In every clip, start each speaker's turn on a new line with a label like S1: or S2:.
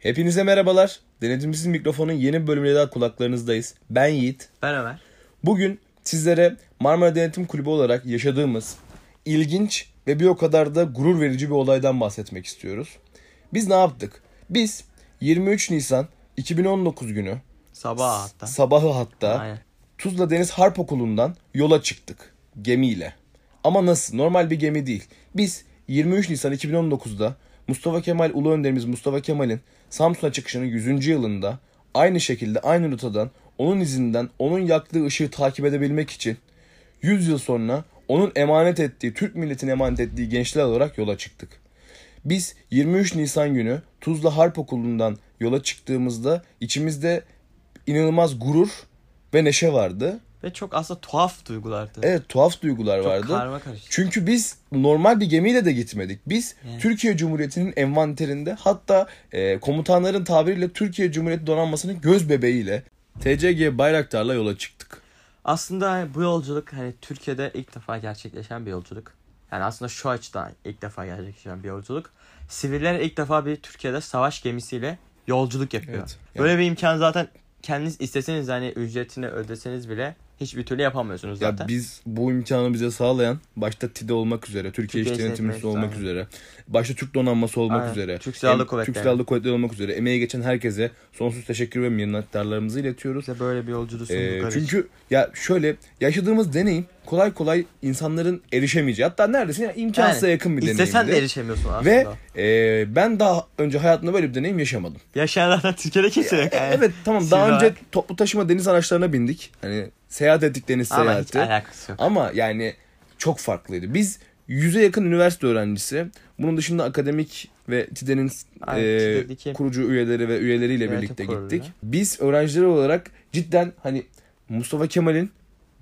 S1: Hepinize merhabalar. Denetimsiz mikrofonun yeni bir bölümüyle daha kulaklarınızdayız. Ben Yiğit.
S2: Ben Ömer.
S1: Bugün sizlere Marmara Denetim Kulübü olarak yaşadığımız ilginç ve bir o kadar da gurur verici bir olaydan bahsetmek istiyoruz. Biz ne yaptık? Biz 23 Nisan 2019 günü
S2: Sabah hatta.
S1: sabahı hatta
S2: Aynen.
S1: Tuzla Deniz Harp Okulu'ndan yola çıktık gemiyle. Ama nasıl? Normal bir gemi değil. Biz 23 Nisan 2019'da Mustafa Kemal Ulu Önderimiz Mustafa Kemal'in Samsun'a çıkışının 100. yılında aynı şekilde aynı rotadan onun izinden onun yaktığı ışığı takip edebilmek için 100 yıl sonra onun emanet ettiği Türk milletine emanet ettiği gençler olarak yola çıktık. Biz 23 Nisan günü Tuzla Harp Okulu'ndan yola çıktığımızda içimizde inanılmaz gurur ve neşe vardı.
S2: Ve çok aslında tuhaf duygulardı.
S1: Evet tuhaf duygular vardı.
S2: Karma karışık.
S1: Çünkü biz normal bir gemiyle de gitmedik. Biz
S2: Yani.
S1: Türkiye Cumhuriyeti'nin envanterinde hatta e, komutanların tabiriyle Türkiye Cumhuriyeti donanmasının göz bebeğiyle TCG Bayraktar'la yola çıktık.
S2: Aslında hani bu yolculuk hani Türkiye'de ilk defa gerçekleşen bir yolculuk. Yani aslında şu açıdan ilk defa gerçekleşen bir yolculuk. Siviller ilk defa bir Türkiye'de savaş gemisiyle yolculuk yapıyor.
S1: Evet, yani-
S2: Böyle bir imkan zaten kendiniz isteseniz hani ücretini ödeseniz bile hiçbir türlü yapamıyorsunuz
S1: Ya
S2: zaten.
S1: biz bu imkanı bize sağlayan başta TİDE olmak üzere, Türkiye İş
S2: Türkiye İş
S1: Denetimlisi
S2: Denetimlisi,
S1: olmak
S2: aynen.
S1: üzere, başta Türk Donanması olmak
S2: Aynen.
S1: üzere,
S2: Türk Silahlı
S1: em- Türk
S2: Kuvvetleri.
S1: Silahlı Kuvvetleri olmak üzere emeği geçen herkese sonsuz teşekkür ve minnettarlarımızı iletiyoruz.
S2: Bize böyle bir yolculuğu
S1: Ee,
S2: sundukları için.
S1: çünkü ya şöyle yaşadığımız deneyim kolay kolay insanların erişemeyeceği hatta neredeyse yani imkansıza
S2: Yani
S1: yakın bir deneyimdi.
S2: İstesen de erişemiyorsun aslında.
S1: Ve e, ben daha önce hayatımda böyle bir deneyim yaşamadım.
S2: Yaşayan zaten Türkiye'de kimse yok. yani.
S1: E, Evet tamam daha
S2: Silah-
S1: önce toplu taşıma deniz araçlarına bindik. Hani seyahat ettik deniz
S2: Ama hiç
S1: seyahati.
S2: alakası yok.
S1: Ama yani çok farklıydı. Biz yüze yakın üniversite öğrencisi. Bunun dışında akademik ve TİDE'nin
S2: Aynen,
S1: e,
S2: TİDE'deki
S1: kurucu üyeleri ve üyeleriyle
S2: yönetim
S1: birlikte
S2: kurulu
S1: gittik.
S2: ya.
S1: Biz öğrenciler olarak cidden hani Mustafa Kemal'in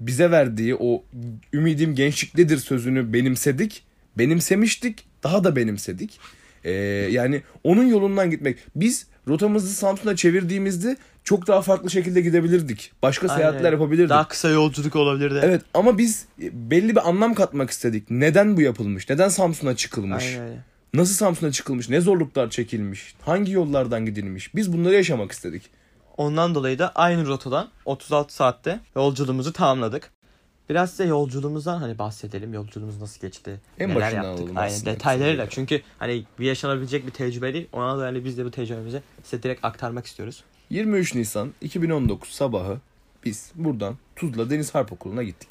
S1: bize verdiği o ümidim gençliktedir sözünü benimsedik. Benimsemiştik. Daha da benimsedik. E, yani onun yolundan gitmek. Biz rotamızı Samsun'a çevirdiğimizde çok daha farklı şekilde gidebilirdik. Başka
S2: Aynen
S1: seyahatler
S2: öyle.
S1: yapabilirdik.
S2: Daha kısa yolculuk olabilirdi.
S1: Evet ama biz belli bir anlam katmak istedik. Neden bu yapılmış? Neden Samsun'a çıkılmış?
S2: Aynen öyle.
S1: Nasıl Samsun'a çıkılmış? Ne zorluklar çekilmiş? Hangi yollardan gidilmiş? Biz bunları yaşamak istedik.
S2: Ondan dolayı da aynı rotadan 36 saatte yolculuğumuzu tamamladık. Biraz size yolculuğumuzdan hani bahsedelim. Yolculuğumuz nasıl geçti?
S1: En
S2: neler
S1: başından
S2: yaptık?
S1: alalım
S2: Aynen
S1: aslında
S2: detaylarıyla.
S1: kısaca.
S2: Çünkü hani bir yaşanabilecek bir tecrübe değil. Ona da hani biz de bu tecrübemizi size direkt aktarmak istiyoruz.
S1: 23 Nisan 2019 sabahı biz buradan Tuzla Deniz Harp Okulu'na gittik.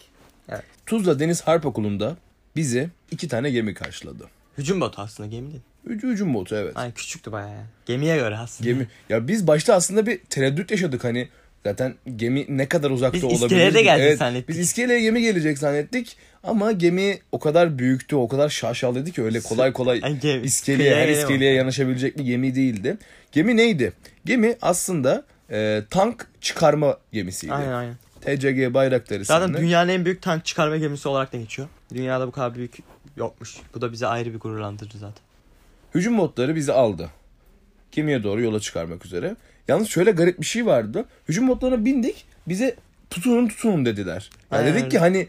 S2: Evet.
S1: Tuzla Deniz Harp Okulu'nda bizi iki tane gemi karşıladı.
S2: Hücum botu aslında gemi değil.
S1: Hüc- Hücum botu evet.
S2: Aynen küçüktü bayağı yani. Gemiye göre aslında.
S1: Gemi. Ya biz başta aslında bir tereddüt yaşadık hani zaten gemi ne kadar uzakta
S2: Biz
S1: olabilir.
S2: iskeleye de geldik zannettik.
S1: Biz iskeleye gemi gelecek zannettik ama gemi o kadar büyüktü, o kadar şaşalıydı ki öyle kolay kolay
S2: Yani gemi-
S1: iskeleye, her
S2: kıyıya gelemem.
S1: iskeleye yanaşabilecek bir gemi değildi. Gemi neydi? Gemi aslında e, tank çıkarma gemisiydi.
S2: Aynen aynen.
S1: TCG Bayraktarı
S2: Zaten
S1: isimli.
S2: dünyanın en büyük tank çıkarma gemisi olarak da geçiyor. Dünyada bu kadar büyük yokmuş. Bu da bizi ayrı bir gururlandırdı zaten.
S1: Hücum botları bizi aldı. Gemiye doğru yola çıkarmak üzere. Yalnız şöyle garip bir şey vardı. Hücum botlarına bindik. Bize tutunun tutunun dediler. Ya
S2: Aynen
S1: dedik ki hani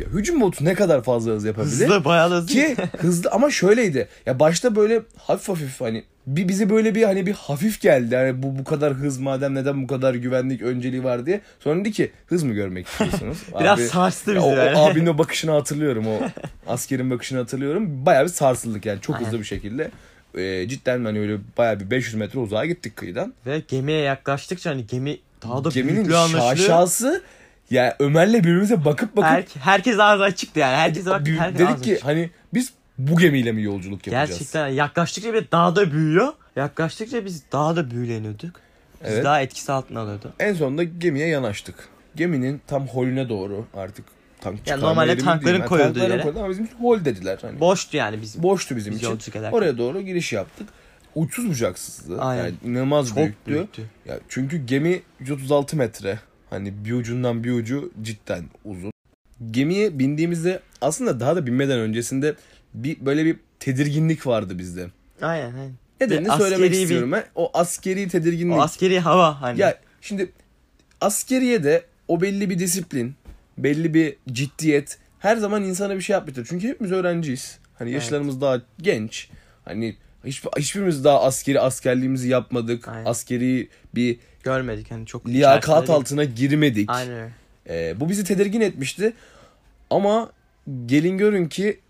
S1: ya hücum botu ne kadar fazla hız yapabilir?
S2: Hızlı bayağı da hızlı.
S1: Ki hızlı ama şöyleydi. Ya başta böyle hafif hafif hani bir bize böyle bir hani bir hafif geldi. Yani bu bu kadar hız madem neden bu kadar güvenlik önceliği var diye. Sonra dedi ki hız mı görmek istiyorsunuz?
S2: Biraz
S1: Abi-
S2: sarstı bizi
S1: ya o, o
S2: yani.
S1: abinin o bakışını hatırlıyorum. O askerin bakışını hatırlıyorum. Bayağı bir sarsıldık yani çok
S2: Aynen.
S1: hızlı bir şekilde. Ee, cidden hani öyle bayağı bir 500 metre uzağa gittik kıyıdan.
S2: Ve gemiye yaklaştıkça hani gemi daha da
S1: Geminin
S2: büyüklüğü anlaşılıyor.
S1: şaşası ya Ömer'le birbirimize bakıp bakıp
S2: Her- herkes ağzı açıktı yani. Herkes bak
S1: bir-
S2: herkes ağzı
S1: dedik ki
S2: açık.
S1: hani biz bu gemiyle mi yolculuk yapacağız?
S2: gerçekten yaklaştıkça bir daha da büyüyor. Yaklaştıkça biz daha da büyüleniyorduk. Biz
S1: Evet.
S2: daha etkisi altına alıyordu.
S1: En sonunda gemiye yanaştık. Geminin tam holüne doğru artık tank çıkarma
S2: normalde
S1: yeri mi
S2: tankların
S1: diyeyim, yani
S2: koyulduğu
S1: tankların
S2: yere.
S1: koyuldu ama bizim için hol dediler. Hani
S2: Boştu yani bizim.
S1: boştu bizim
S2: Biz
S1: için.
S2: yolculuk ederken.
S1: Oraya doğru giriş yaptık. Uçsuz bucaksızdı.
S2: Aynen.
S1: Yani inanılmaz
S2: Çok
S1: büyüktü.
S2: büyüktü.
S1: Ya çünkü gemi 136 metre. Hani bir ucundan bir ucu cidden uzun. Gemiye bindiğimizde aslında daha da binmeden öncesinde bir böyle bir tedirginlik vardı bizde.
S2: Aynen aynen.
S1: Nedenini
S2: Bir askeri
S1: söylemek
S2: bir-
S1: istiyorum ben. O askeri
S2: O
S1: tedirginlik.
S2: askeri hava hani.
S1: Ya şimdi askeriye de o belli bir disiplin, belli bir ciddiyet her zaman insana bir şey yapmıştır. Çünkü hepimiz öğrenciyiz. Hani yaşlarımız daha genç. Hani Hiç, hiçbirimiz daha askeri askerliğimizi yapmadık.
S2: Aynen.
S1: Askeri bir
S2: Görmedik hani çok.
S1: liyakat
S2: içerisinde değil.
S1: altına girmedik.
S2: Aynen öyle.
S1: Ee, bu bizi tedirgin etmişti. Ama gelin görün ki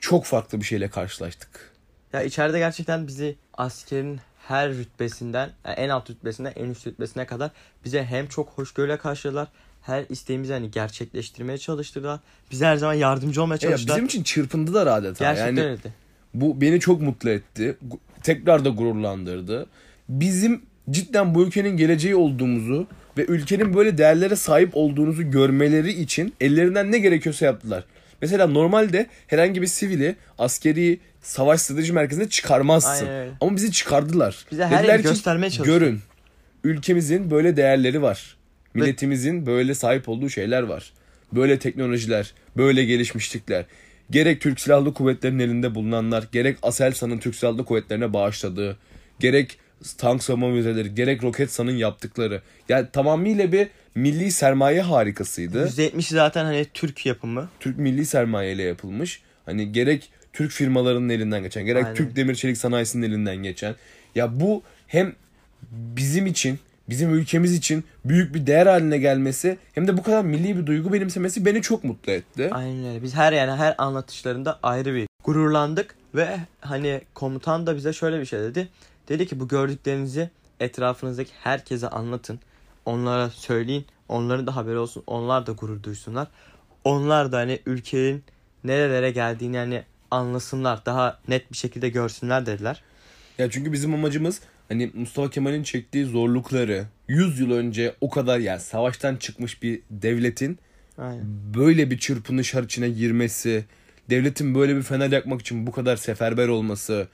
S1: çok farklı bir şeyle karşılaştık.
S2: Ya içeride gerçekten bizi askerin her rütbesinden, yani en alt rütbesinden en üst rütbesine kadar bize hem çok hoşgörüyle karşıladılar, her isteğimizi hani gerçekleştirmeye çalıştırdılar. Bize her zaman yardımcı olmaya
S1: E Ya
S2: çalıştılar.
S1: bizim için çırpındılar adeta.
S2: Gerçekten
S1: yani
S2: öyle.
S1: bu beni çok mutlu etti. Gu- Tekrar da gururlandırdı. Bizim cidden bu ülkenin geleceği olduğumuzu ve ülkenin böyle değerlere sahip olduğunuzu görmeleri için ellerinden ne gerekiyorsa yaptılar. Mesela normalde herhangi bir sivili askeri savaş strateji merkezine çıkarmazsın.
S2: Aynen öyle.
S1: Ama bizi çıkardılar.
S2: Bize her
S1: Dediler
S2: yeri
S1: ki,
S2: göstermeye çalıştılar.
S1: Görün. Ülkemizin böyle değerleri var. Milletimizin böyle sahip olduğu şeyler var. Böyle teknolojiler, böyle gelişmişlikler. Gerek Türk Silahlı Kuvvetleri'nin elinde bulunanlar, gerek Aselsan'ın Türk Silahlı Kuvvetleri'ne bağışladığı, gerek tank savunma müzeleri, gerek Roketsan'ın yaptıkları. Yani tamamıyla bir milli sermaye harikasıydı.
S2: %70'i zaten hani Türk yapımı.
S1: Türk milli sermayeyle yapılmış. Hani gerek Türk firmalarının elinden geçen, gerek
S2: Aynen.
S1: Türk demir çelik sanayisinin elinden geçen. Ya bu hem bizim için, bizim ülkemiz için büyük bir değer haline gelmesi hem de bu kadar milli bir duygu benimsemesi beni çok mutlu etti.
S2: Aynen öyle. Biz her yani her anlatışlarında ayrı bir gururlandık ve hani komutan da bize şöyle bir şey dedi. Dedi ki bu gördüklerinizi etrafınızdaki herkese anlatın. Onlara söyleyin. Onların da haberi olsun. Onlar da gurur duysunlar. Onlar da hani ülkenin nerelere geldiğini hani anlasınlar. Daha net bir şekilde görsünler dediler.
S1: Ya çünkü bizim amacımız hani Mustafa Kemal'in çektiği zorlukları 100 yıl önce o kadar yani savaştan çıkmış bir devletin
S2: Aynen.
S1: böyle bir çırpınış içine girmesi, devletin böyle bir fener yakmak için bu kadar seferber olması,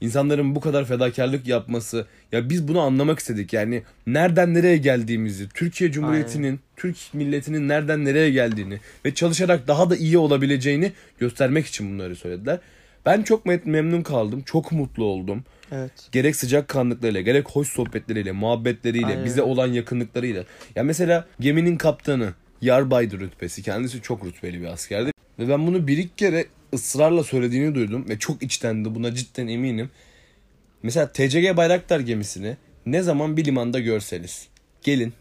S1: insanların bu kadar fedakarlık yapması. Ya biz bunu anlamak istedik. Yani nereden nereye geldiğimizi, Türkiye Cumhuriyeti'nin, Türk milletinin nereden nereye geldiğini ve çalışarak daha da iyi olabileceğini göstermek için bunları söylediler. Ben çok me- memnun kaldım, çok mutlu oldum
S2: Evet.
S1: gerek sıcak kanlıklarıyla gerek hoş sohbetleriyle, muhabbetleriyle,
S2: Aynen
S1: bize
S2: öyle.
S1: olan yakınlıklarıyla. Ya mesela geminin kaptanı Yarbaydı rütbesi. Kendisi çok rütbeli bir askerdi. Ve ben bunu bir iki kere ısrarla söylediğini duydum ve çok içten de buna cidden eminim. Mesela TCG Bayraktar gemisini ne zaman bir limanda görseniz gelin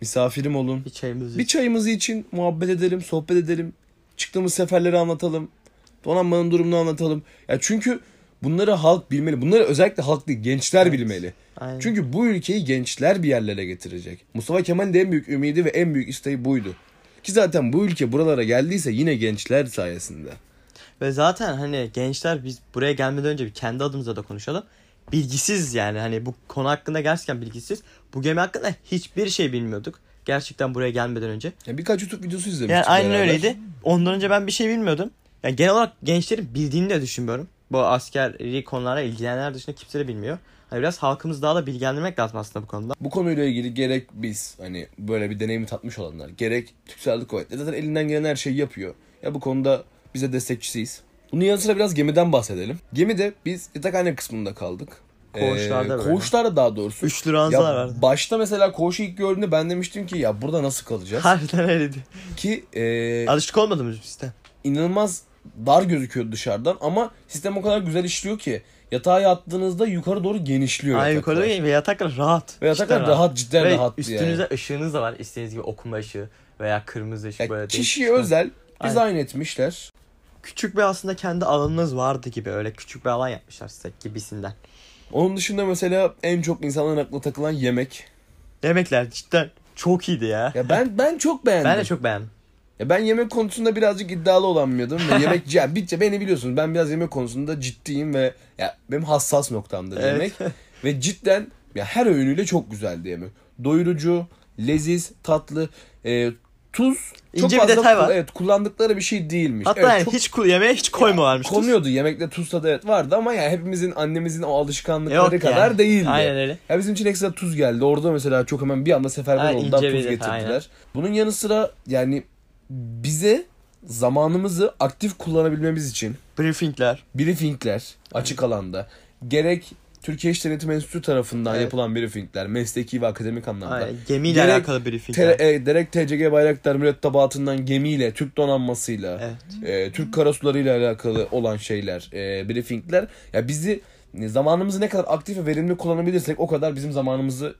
S1: misafirim olun.
S2: Bir çayımızı
S1: Bir çayımızı için muhabbet edelim, sohbet edelim. Çıktığımız seferleri anlatalım. Donanmanın durumunu anlatalım. Ya çünkü bunları halk bilmeli. Bunları özellikle halk değil, gençler bilmeli.
S2: Aynen.
S1: Çünkü bu ülkeyi gençler bir yerlere getirecek. Mustafa Kemal'in de en büyük ümidi ve en büyük isteği buydu. Ki zaten bu ülke buralara geldiyse yine gençler sayesinde.
S2: Ve zaten hani gençler biz buraya gelmeden önce bir kendi adımıza da konuşalım. Bilgisiz yani hani bu konu hakkında gerçekten bilgisiz. Bu gemi hakkında hiçbir şey bilmiyorduk. Gerçekten buraya gelmeden önce.
S1: Ya birkaç YouTube videosu izlemiştik
S2: Yani aynen
S1: beraber.
S2: öyleydi. Ondan önce ben bir şey bilmiyordum. Yani genel olarak gençlerin bildiğini de düşünmüyorum. Bu askeri konulara ilgilenenler dışında kimse de bilmiyor. Hani biraz halkımızı daha da bilgilendirmek lazım aslında bu konuda.
S1: Bu konuyla ilgili gerek biz hani böyle bir deneyimi tatmış olanlar gerek Türk Silahlı Kuvvetleri zaten elinden gelen her şeyi yapıyor. Ya bu konuda bize destekçisiyiz. Bunun yanı sıra biraz gemiden bahsedelim. Gemide biz yatakhane kısmında kaldık. Ee,
S2: Koğuşlarda böyle.
S1: Koğuşlarda daha doğrusu.
S2: Üçlü
S1: Ya
S2: ranzalar vardı.
S1: başta mesela koğuşu ilk gördüğümde ben demiştim ki ya burada nasıl kalacağız?
S2: Harbiden öyleydi.
S1: Ki e,
S2: Alışık olmadığımız biz de.
S1: inanılmaz dar gözüküyor dışarıdan ama sistem o kadar güzel işliyor ki yatağa yattığınızda yukarı doğru genişliyor
S2: Ay
S1: yataklar.
S2: yukarıda değil ve yataklar rahat.
S1: Ve yataklar
S2: Cidden
S1: rahat cidden
S2: Ve
S1: rahat.
S2: üstünüze ışığınız da var. İstediğiniz gibi okuma ışığı veya kırmızı ışık
S1: Ya
S2: böyle değişik
S1: kişiye
S2: ışıklar.
S1: özel dizayn etmişler.
S2: Küçük bir aslında kendi alanınız vardı gibi. Öyle küçük bir alan yapmışlar size gibisinden.
S1: Onun dışında mesela en çok insanların aklına takılan yemek.
S2: Yemekler cidden çok iyiydi ya.
S1: Ya ben ben çok beğendim.
S2: ben de çok beğendim.
S1: Ya ben yemek konusunda birazcık iddialı olan bir adamım ve yemek ya bitçe beni biliyorsunuz. Ben biraz yemek konusunda ciddiyim ve ya benim hassas noktamda
S2: Evet.
S1: yemek ve cidden ya her öğünüyle çok güzeldi yemek. Doyurucu, leziz, tatlı, e, tuz çok
S2: İnce bir
S1: fazla
S2: detay var.
S1: evet kullandıkları bir şey değilmiş.
S2: Hatta
S1: evet,
S2: yani
S1: çok
S2: hiç kul yemeğe hiç koymuyorlarmış.
S1: konuyordu. Yemekte tuz tadı evet vardı ama yani hepimizin annemizin o alışkanlıkları
S2: Yok yani.
S1: kadar değildi.
S2: Aynen öyle.
S1: Ya bizim için ekstra tuz geldi. Orada mesela çok hemen bir anda seferber
S2: Ha,
S1: oldular
S2: ince
S1: tuz
S2: bir detay,
S1: getirdiler.
S2: aynen.
S1: Bunun yanı sıra yani bize zamanımızı aktif kullanabilmemiz için
S2: Briefingler.
S1: briefingler açık alanda gerek Türkiye İş Denetim Enstitüsü tarafından
S2: Evet.
S1: yapılan briefingler mesleki ve akademik anlamda.
S2: Aynen. Gemiyle
S1: Gerek
S2: alakalı briefingler.
S1: Te- e, direkt TCG Bayraktar mürettebatından gemiyle, Türk donanmasıyla,
S2: Evet.
S1: e, Türk karasularıyla alakalı olan şeyler, e, briefingler. Ya bizi e, zamanımızı ne kadar aktif ve verimli kullanabilirsek o kadar bizim zamanımızı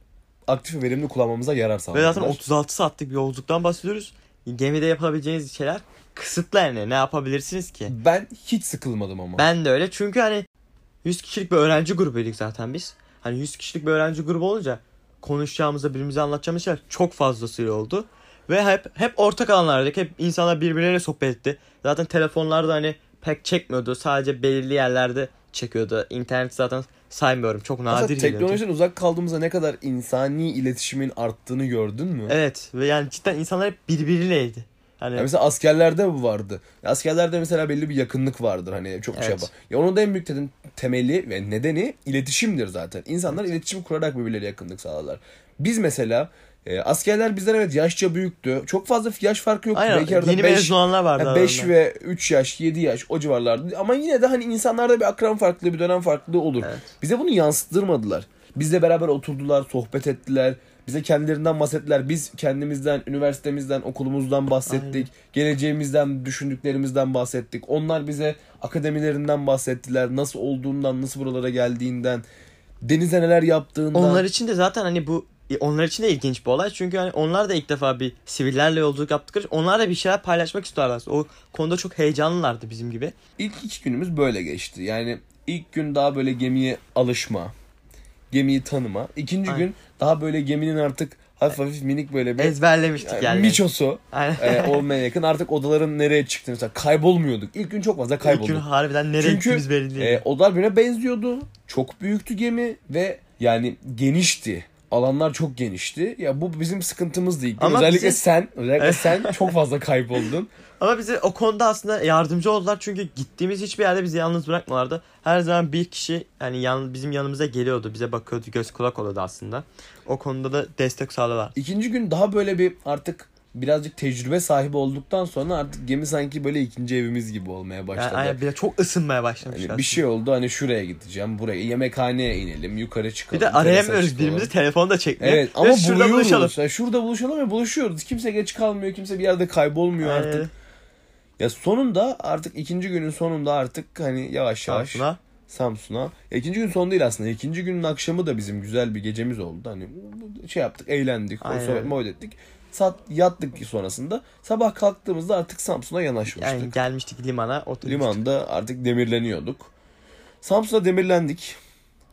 S1: aktif ve verimli kullanmamıza yarar
S2: Ve
S1: sağlar.
S2: zaten 36 saatlik bir yolculuktan bahsediyoruz. Gemide yapabileceğiniz şeyler kısıtlı yani ne yapabilirsiniz ki?
S1: Ben hiç sıkılmadım ama.
S2: Ben de öyle çünkü hani 100 kişilik bir öğrenci grubuyduk zaten biz. Hani 100 kişilik bir öğrenci grubu olunca konuşacağımızda birbirimize anlatacağımız şeyler çok fazlasıyla oldu. Ve hep hep ortak alanlardaki hep insanlar birbirleriyle sohbet etti. Zaten telefonlar da hani pek çekmiyordu. Sadece belirli yerlerde çekiyordu. İnternet zaten saymıyorum. Çok nadir
S1: Aslında
S2: geliyordu.
S1: teknolojiden uzak kaldığımızda ne kadar insani iletişimin arttığını gördün mü?
S2: Evet ve yani cidden insanlar hep birbiriyleydi.
S1: Ya
S2: Hani
S1: mesela askerlerde bu vardı. Ya Askerlerde mesela belli bir yakınlık vardır hani çok şey
S2: Evet.
S1: yapar. Ya onun da en büyük dedim, temeli ve nedeni iletişimdir zaten. İnsanlar iletişim kurarak birbirleriyle yakınlık sağlarlar. Biz mesela e, askerler bizden evet yaşça büyüktü. Çok fazla yaş farkı yoktu.
S2: aynen
S1: Belki arada
S2: yeni
S1: beş-
S2: mezun olanlar vardı.
S1: Ha, beş
S2: aralarında.
S1: ve 3 yaş, 7 yaş o civarlarda. Ama yine de hani insanlarda bir akran farklılığı, bir dönem farklılığı olur.
S2: Evet.
S1: Bize bunu yansıtırmadılar. Bizle beraber oturdular, sohbet ettiler. Bize kendilerinden bahsettiler. Biz kendimizden, üniversitemizden, okulumuzdan bahsettik.
S2: Aynen.
S1: Geleceğimizden, düşündüklerimizden bahsettik. Onlar bize akademilerinden bahsettiler. Nasıl olduğundan, nasıl buralara geldiğinden, denize neler yaptığından.
S2: Onlar için de zaten hani bu onlar için de ilginç bir olay. Çünkü hani onlar da ilk defa bir sivillerle yolculuk yaptıkları için onlar da bir şeyler paylaşmak istiyorlar. O konuda çok heyecanlılardı bizim gibi.
S1: İlk iki günümüz böyle geçti. Yani ilk gün daha böyle gemiye alışma, gemiyi tanıma. İkinci
S2: Aynen.
S1: gün daha böyle geminin artık hafif hafif minik böyle bir
S2: Ezberlemiştik yani.
S1: yani miçosu
S2: Aynen.
S1: e, olmaya yakın. Artık odaların nereye çıktı mesela kaybolmuyorduk. İlk gün çok fazla
S2: İlk gün
S1: kaybolduk.
S2: harbiden nereye
S1: Çünkü,
S2: gittiğimiz belli değil.
S1: E, odalar birbirine benziyordu. Çok büyüktü gemi ve yani genişti. Alanlar çok genişti. Ya bu bizim sıkıntımızdı ilk gün.
S2: Ama
S1: özellikle
S2: bize-
S1: sen, özellikle
S2: Evet.
S1: sen çok fazla kayboldun.
S2: Ama bize o konuda aslında yardımcı oldular. Çünkü gittiğimiz hiçbir yerde bizi yalnız bırakmalardı. Her zaman bir kişi yani yan, bizim yanımıza geliyordu. Bize bakıyordu. Göz kulak oluyordu aslında. O konuda da destek sağladılar.
S1: İkinci gün daha böyle bir artık birazcık tecrübe sahibi olduktan sonra artık gemi sanki böyle ikinci evimiz gibi olmaya
S2: Yani,
S1: başladı.
S2: aynen, bir de çok ısınmaya başlamışlar.
S1: Hani bir şey oldu hani şuraya gideceğim, buraya yemekhaneye inelim, yukarı çıkalım.
S2: Bir de
S1: terasa
S2: arayamıyoruz
S1: çıkalım.
S2: birbirimizi telefonda çekmiyor.
S1: şey Evet ama
S2: Diyoruz, şurada
S1: buluyoruz.
S2: buluşalım.
S1: Yani şurada buluşalım ve buluşuyoruz. Kimse geç kalmıyor, kimse bir yerde kaybolmuyor artık.
S2: Aynen.
S1: Ya sonunda artık ikinci günün sonunda artık hani yavaş yavaş Samsun'a.
S2: Samsun'a.
S1: Ya ikinci gün son değil aslında. İkinci günün akşamı da bizim güzel bir gecemiz oldu. Hani şey yaptık, eğlendik,
S2: Aynen.
S1: sohbet muhabbet ettik. Sat, yattık sonrasında. Sabah kalktığımızda artık Samsun'a yanaşmıştık.
S2: Yani gelmiştik limana oturmuştuk.
S1: Limanda artık demirleniyorduk. Samsun'a demirlendik.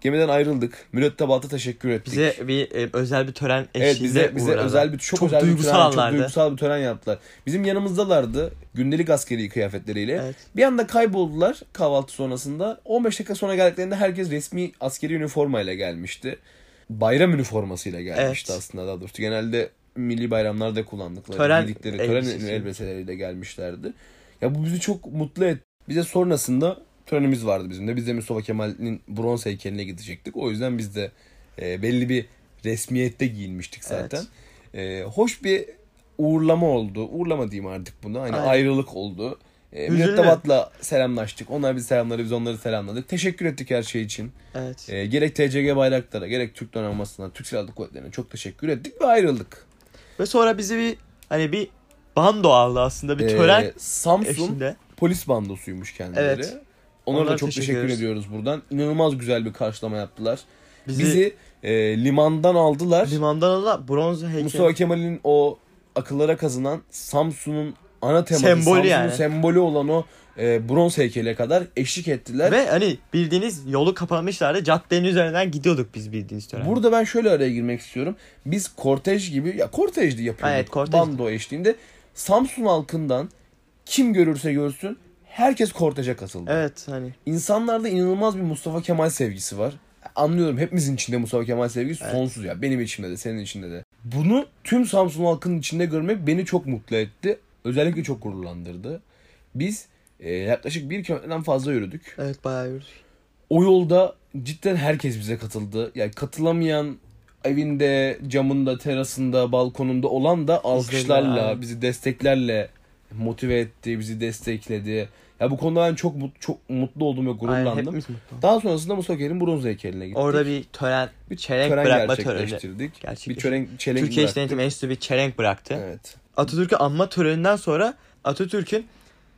S1: Gemiden ayrıldık. Mürettebata teşekkür ettik.
S2: Bize bir e, özel bir tören eşliğinde
S1: evet bize bize
S2: uğradılar.
S1: özel bir çok, özel
S2: duygusal
S1: bir tören, çok
S2: anlardı.
S1: duygusal bir tören yaptılar. Bizim yanımızdalardı gündelik askeri kıyafetleriyle.
S2: Evet.
S1: Bir anda kayboldular kahvaltı sonrasında. 15 dakika sonra geldiklerinde herkes resmi askeri üniformayla gelmişti. Bayram üniformasıyla gelmişti
S2: Evet.
S1: aslında daha doğrusu. Genelde milli bayramlarda kullandıkları
S2: Tören
S1: giydikleri tören
S2: elbisesi.
S1: elbiseleriyle gelmişlerdi. Ya bu bizi çok mutlu etti. Bize sonrasında törenimiz vardı bizim de. Biz de Mustafa Kemal'in bronz heykeline gidecektik. O yüzden biz de e, belli bir resmiyette giyinmiştik zaten. E, hoş bir uğurlama oldu. Uğurlama diyeyim artık bunu. Hani
S2: Aynen.
S1: ayrılık oldu. E,
S2: Üzüldü.
S1: Mürettebatla selamlaştık. Onlar bizi selamladı. Biz onları selamladık. Teşekkür ettik her şey için.
S2: Evet.
S1: E, gerek TCG bayraklara, gerek Türk donanmasına, Türk Silahlı Kuvvetleri'ne çok teşekkür ettik ve ayrıldık.
S2: Ve sonra bizi bir hani bir bando aldı aslında bir tören
S1: E, Samsun
S2: eşliğinde.
S1: polis bandosuymuş kendileri.
S2: Evet.
S1: Onlara
S2: Onlara
S1: da çok teşekkür,
S2: teşekkür ederiz.
S1: ediyoruz buradan. İnanılmaz güzel bir karşılama yaptılar.
S2: Bizi,
S1: Bizi, e, limandan aldılar.
S2: limandan aldı bronz heykel.
S1: Mustafa Kemal'in o akıllara kazınan Samsun'un ana teması,
S2: Sembolü
S1: Samsun'un
S2: yani.
S1: sembolü olan o e, bronz heykele kadar eşlik ettiler.
S2: Ve hani bildiğiniz yolu kapamışlardı. Caddenin üzerinden gidiyorduk biz bildiğiniz tören.
S1: Burada ben şöyle araya girmek istiyorum. Biz kortej gibi ya kortejdi yapıyorduk.
S2: Evet, kortejdi.
S1: Bando eşliğinde Samsun halkından kim görürse görsün herkes korteje katıldı.
S2: Evet hani.
S1: İnsanlarda inanılmaz bir Mustafa Kemal sevgisi var. Anlıyorum hepimizin içinde Mustafa Kemal sevgisi
S2: Evet.
S1: sonsuz ya. Benim içimde de senin içinde de. Bunu tüm Samsun halkının içinde görmek beni çok mutlu etti. Özellikle çok gururlandırdı. Biz e, yaklaşık bir kilometreden fazla yürüdük.
S2: Evet bayağı yürüdük.
S1: O yolda cidden herkes bize katıldı. Yani katılamayan evinde, camında, terasında, balkonunda olan da alkışlarla,
S2: aynen.
S1: bizi desteklerle motive etti, bizi destekledi. Ya bu konuda ben çok mut- çok mutlu oldum ve
S2: Aynen
S1: gururlandım.
S2: hepimiz mutlu. olduk.
S1: Daha sonrasında Mustafa Kemal'in bronz heykeline gittik.
S2: Orada bir tören, bir çelenk
S1: tören
S2: bırakma töreni.
S1: gerçekleştirdik. Bir
S2: Gerçekleştirdik.
S1: tören çelenk
S2: Türkiye İş
S1: bıraktık.
S2: Denetim Enstitüsü bir çelenk bıraktı.
S1: Evet.
S2: Atatürk'ü anma töreninden sonra Atatürk'ün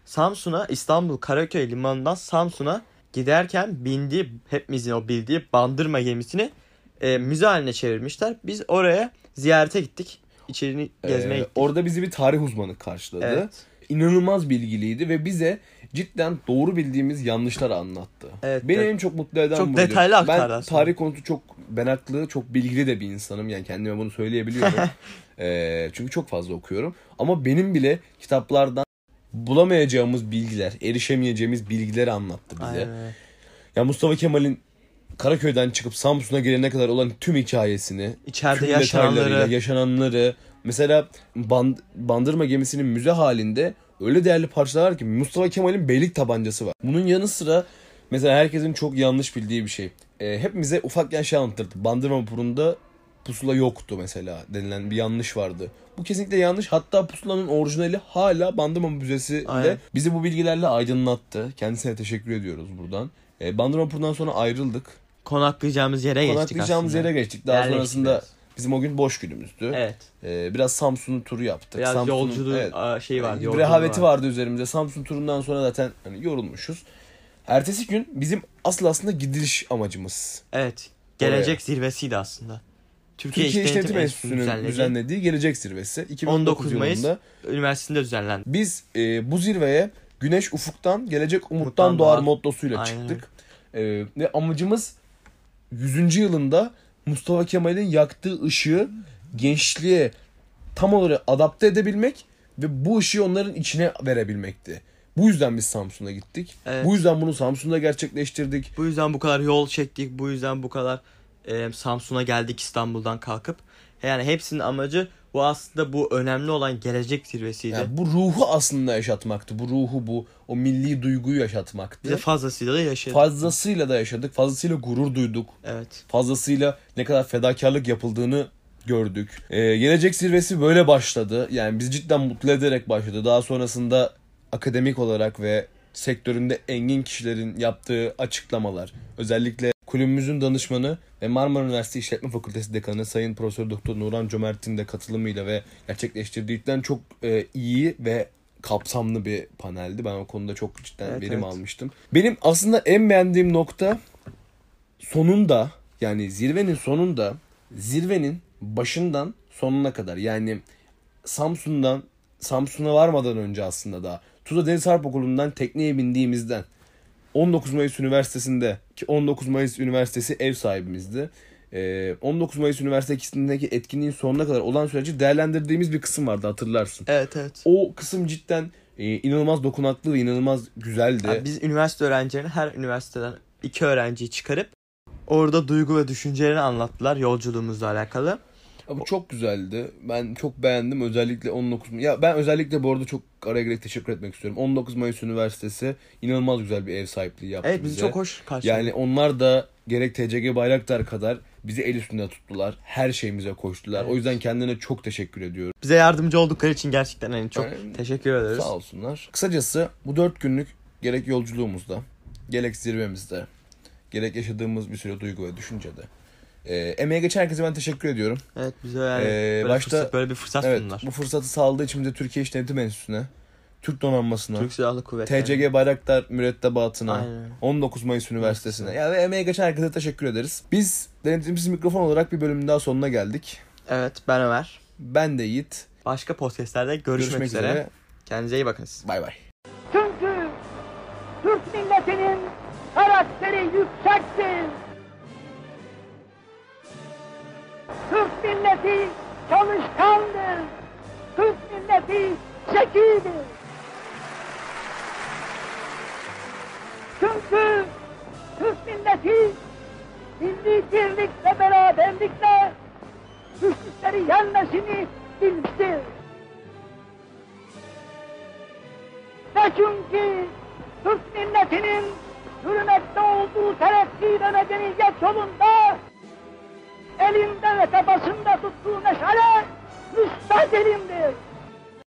S2: Samsun'a İstanbul Karaköy limanından Samsun'a giderken bindiği hepimizin o bildiği bandırma gemisini e, müze haline çevirmişler. Biz oraya ziyarete gittik. İçerini gezmeye
S1: Ee,
S2: gittik.
S1: orada bizi bir tarih uzmanı karşıladı.
S2: Evet.
S1: İnanılmaz bilgiliydi ve bize cidden doğru bildiğimiz yanlışlar anlattı.
S2: Evet,
S1: Beni
S2: evet.
S1: en çok mutlu eden
S2: Çok
S1: buydu.
S2: detaylı aktardı
S1: Ben
S2: aslında.
S1: tarih konusu çok meraklı, çok bilgili de bir insanım. Yani kendime bunu söyleyebiliyorum. Ee, çünkü çok fazla okuyorum. Ama benim bile kitaplardan bulamayacağımız bilgiler, erişemeyeceğimiz bilgileri anlattı bize.
S2: Aynen öyle.
S1: Ya Mustafa Kemal'in Karaköy'den çıkıp Samsun'a gelene kadar olan tüm hikayesini,
S2: İçeride
S1: tüm detaylarıyla,
S2: yaşananları.
S1: yaşananları. Mesela band, bandırma gemisinin müze halinde öyle değerli parçalar var ki Mustafa Kemal'in beylik tabancası var. Bunun yanı sıra mesela herkesin çok yanlış bildiği bir şey. E, hepimize ufakken şey anlatırdı. Bandırma vapurunda pusula yoktu mesela denilen bir yanlış vardı. Bu kesinlikle yanlış. Hatta pusulanın orijinali hala Bandırma Müzesi'nde.
S2: Aynen.
S1: Bizi bu bilgilerle aydınlattı. Kendisine teşekkür ediyoruz buradan. E, Bandırma vapurundan sonra ayrıldık.
S2: Konaklayacağımız yere geçtik
S1: Konaklayacağımız
S2: aslında.
S1: yere geçtik. Daha
S2: Yerleştik
S1: sonrasında
S2: biraz.
S1: bizim o gün boş günümüzdü.
S2: Evet.
S1: Ee, biraz Samsun'un turu yaptık.
S2: Biraz
S1: Samsun'un-
S2: yolculuğun
S1: evet.
S2: aa, şeyi vardı.
S1: Bir
S2: yolculuğu
S1: rehaveti vardı üzerimizde. Samsun turundan sonra zaten hani yorulmuşuz. Ertesi gün bizim asıl aslında gidiliş amacımız.
S2: Evet. Gelecek zirvesiydi aslında. Türkiye,
S1: Türkiye
S2: İşletim,
S1: İşletim Enstitüsü'nün
S2: düzenlediği
S1: düzenlediği, Gelecek Zirvesi 2019
S2: 19 Mayıs
S1: yılında
S2: Üniversitesi'nde düzenlendi.
S1: biz e, bu zirveye Güneş Ufuktan Gelecek Umuttan,
S2: Umuttan
S1: Doğar
S2: doğar.
S1: mottosuyla
S2: Aynen
S1: çıktık. E, ve amacımız 100. yılında Mustafa Kemal'in yaktığı ışığı gençliğe tam olarak adapte edebilmek ve bu ışığı onların içine verebilmekti. Bu yüzden biz Samsun'a gittik.
S2: Evet.
S1: Bu yüzden bunu Samsun'da gerçekleştirdik.
S2: Bu yüzden bu kadar yol çektik. Bu yüzden bu kadar e, Samsun'a geldik İstanbul'dan kalkıp. Yani hepsinin amacı bu aslında bu önemli olan gelecek zirvesiydi.
S1: Yani bu ruhu aslında yaşatmaktı. Bu ruhu bu o milli duyguyu yaşatmaktı.
S2: Bize fazlasıyla da yaşadık.
S1: Fazlasıyla da yaşadık. Fazlasıyla gurur duyduk.
S2: evet.
S1: fazlasıyla ne kadar fedakarlık yapıldığını gördük. Ee, gelecek zirvesi böyle başladı. Yani biz cidden mutlu ederek başladı. Daha sonrasında akademik olarak ve sektöründe engin kişilerin yaptığı açıklamalar. Özellikle kulübümüzün danışmanı ve Marmara Üniversitesi İşletme Fakültesi Dekanı Sayın Profesör Doktor Nurhan Cömert'in de katılımıyla ve gerçekleştirdiğinden çok e, iyi ve kapsamlı bir paneldi. Ben o konuda çok cidden
S2: Evet,
S1: verim
S2: evet.
S1: almıştım. Benim aslında en beğendiğim nokta sonunda yani zirvenin sonunda zirvenin başından sonuna kadar yani Samsun'dan Samsun'a varmadan önce aslında daha Tuzla Deniz Harp Okulu'ndan tekneye bindiğimizden 19 Mayıs Üniversitesi'nde ki 19 Mayıs Üniversitesi ev sahibimizdi. Ee, 19 Mayıs Üniversitesi'ndeki etkinliğin sonuna kadar olan süreci değerlendirdiğimiz bir kısım vardı hatırlarsın.
S2: Evet evet.
S1: O kısım cidden e, inanılmaz dokunaklı ve inanılmaz güzeldi.
S2: Yani biz üniversite öğrencilerini her üniversiteden iki öğrenciyi çıkarıp orada duygu ve düşüncelerini anlattılar yolculuğumuzla alakalı.
S1: Abi çok güzeldi. Ben çok beğendim. Özellikle 19 May- Ya ben özellikle bu arada çok araya girerek teşekkür etmek istiyorum. 19 Mayıs Üniversitesi inanılmaz güzel bir ev sahipliği yaptı
S2: Evet bizi
S1: bize.
S2: çok hoş karşıladı.
S1: Yani onlar da gerek TCG Bayraktar kadar bizi el üstünde tuttular. Her şeyimize koştular.
S2: Evet.
S1: O yüzden kendilerine çok teşekkür ediyorum.
S2: Bize yardımcı oldukları için gerçekten hani çok
S1: Aynen.
S2: teşekkür ederiz.
S1: Sağ olsunlar. Kısacası bu 4 günlük gerek yolculuğumuzda, gerek zirvemizde, gerek yaşadığımız bir sürü duygu ve düşüncede. Ee, emeğe geçen herkese ben teşekkür ediyorum.
S2: Evet bize yani
S1: Ee,
S2: böyle,
S1: başta-
S2: fırsat, böyle bir fırsat
S1: Evet,
S2: sundular.
S1: bu fırsatı sağladığı için bize Türkiye İşletim Enstitüsü'ne, Türk Donanması'na,
S2: Türk Silahlı Kuvvetleri.
S1: TCG Bayraktar Mürettebatı'na,
S2: Aynen.
S1: 19 Mayıs Üniversitesi'ne ya ve emeğe geçen herkese teşekkür ederiz. Biz denetimsiz mikrofon olarak bir bölümün daha sonuna geldik.
S2: Evet ben Ömer.
S1: Ben de Yiğit.
S2: Başka podcastlerde görüşmek,
S1: Görüşmek,
S2: üzere.
S1: üzere.
S2: Kendinize iyi bakınız.
S1: Bay bay.
S3: Çünkü Türk milletinin karakteri yüksektir. Türk milleti çalışkandır. Türk milleti zekidir. Çünkü Türk milleti milli birlik ve beraberlikle düşmüşleri yenmesini bilmiştir. Ve çünkü Türk milletinin yürümekte olduğu terakki ve medeniyet yolunda elinde ve tepasında tuttuğu meşale müstahdelimdir.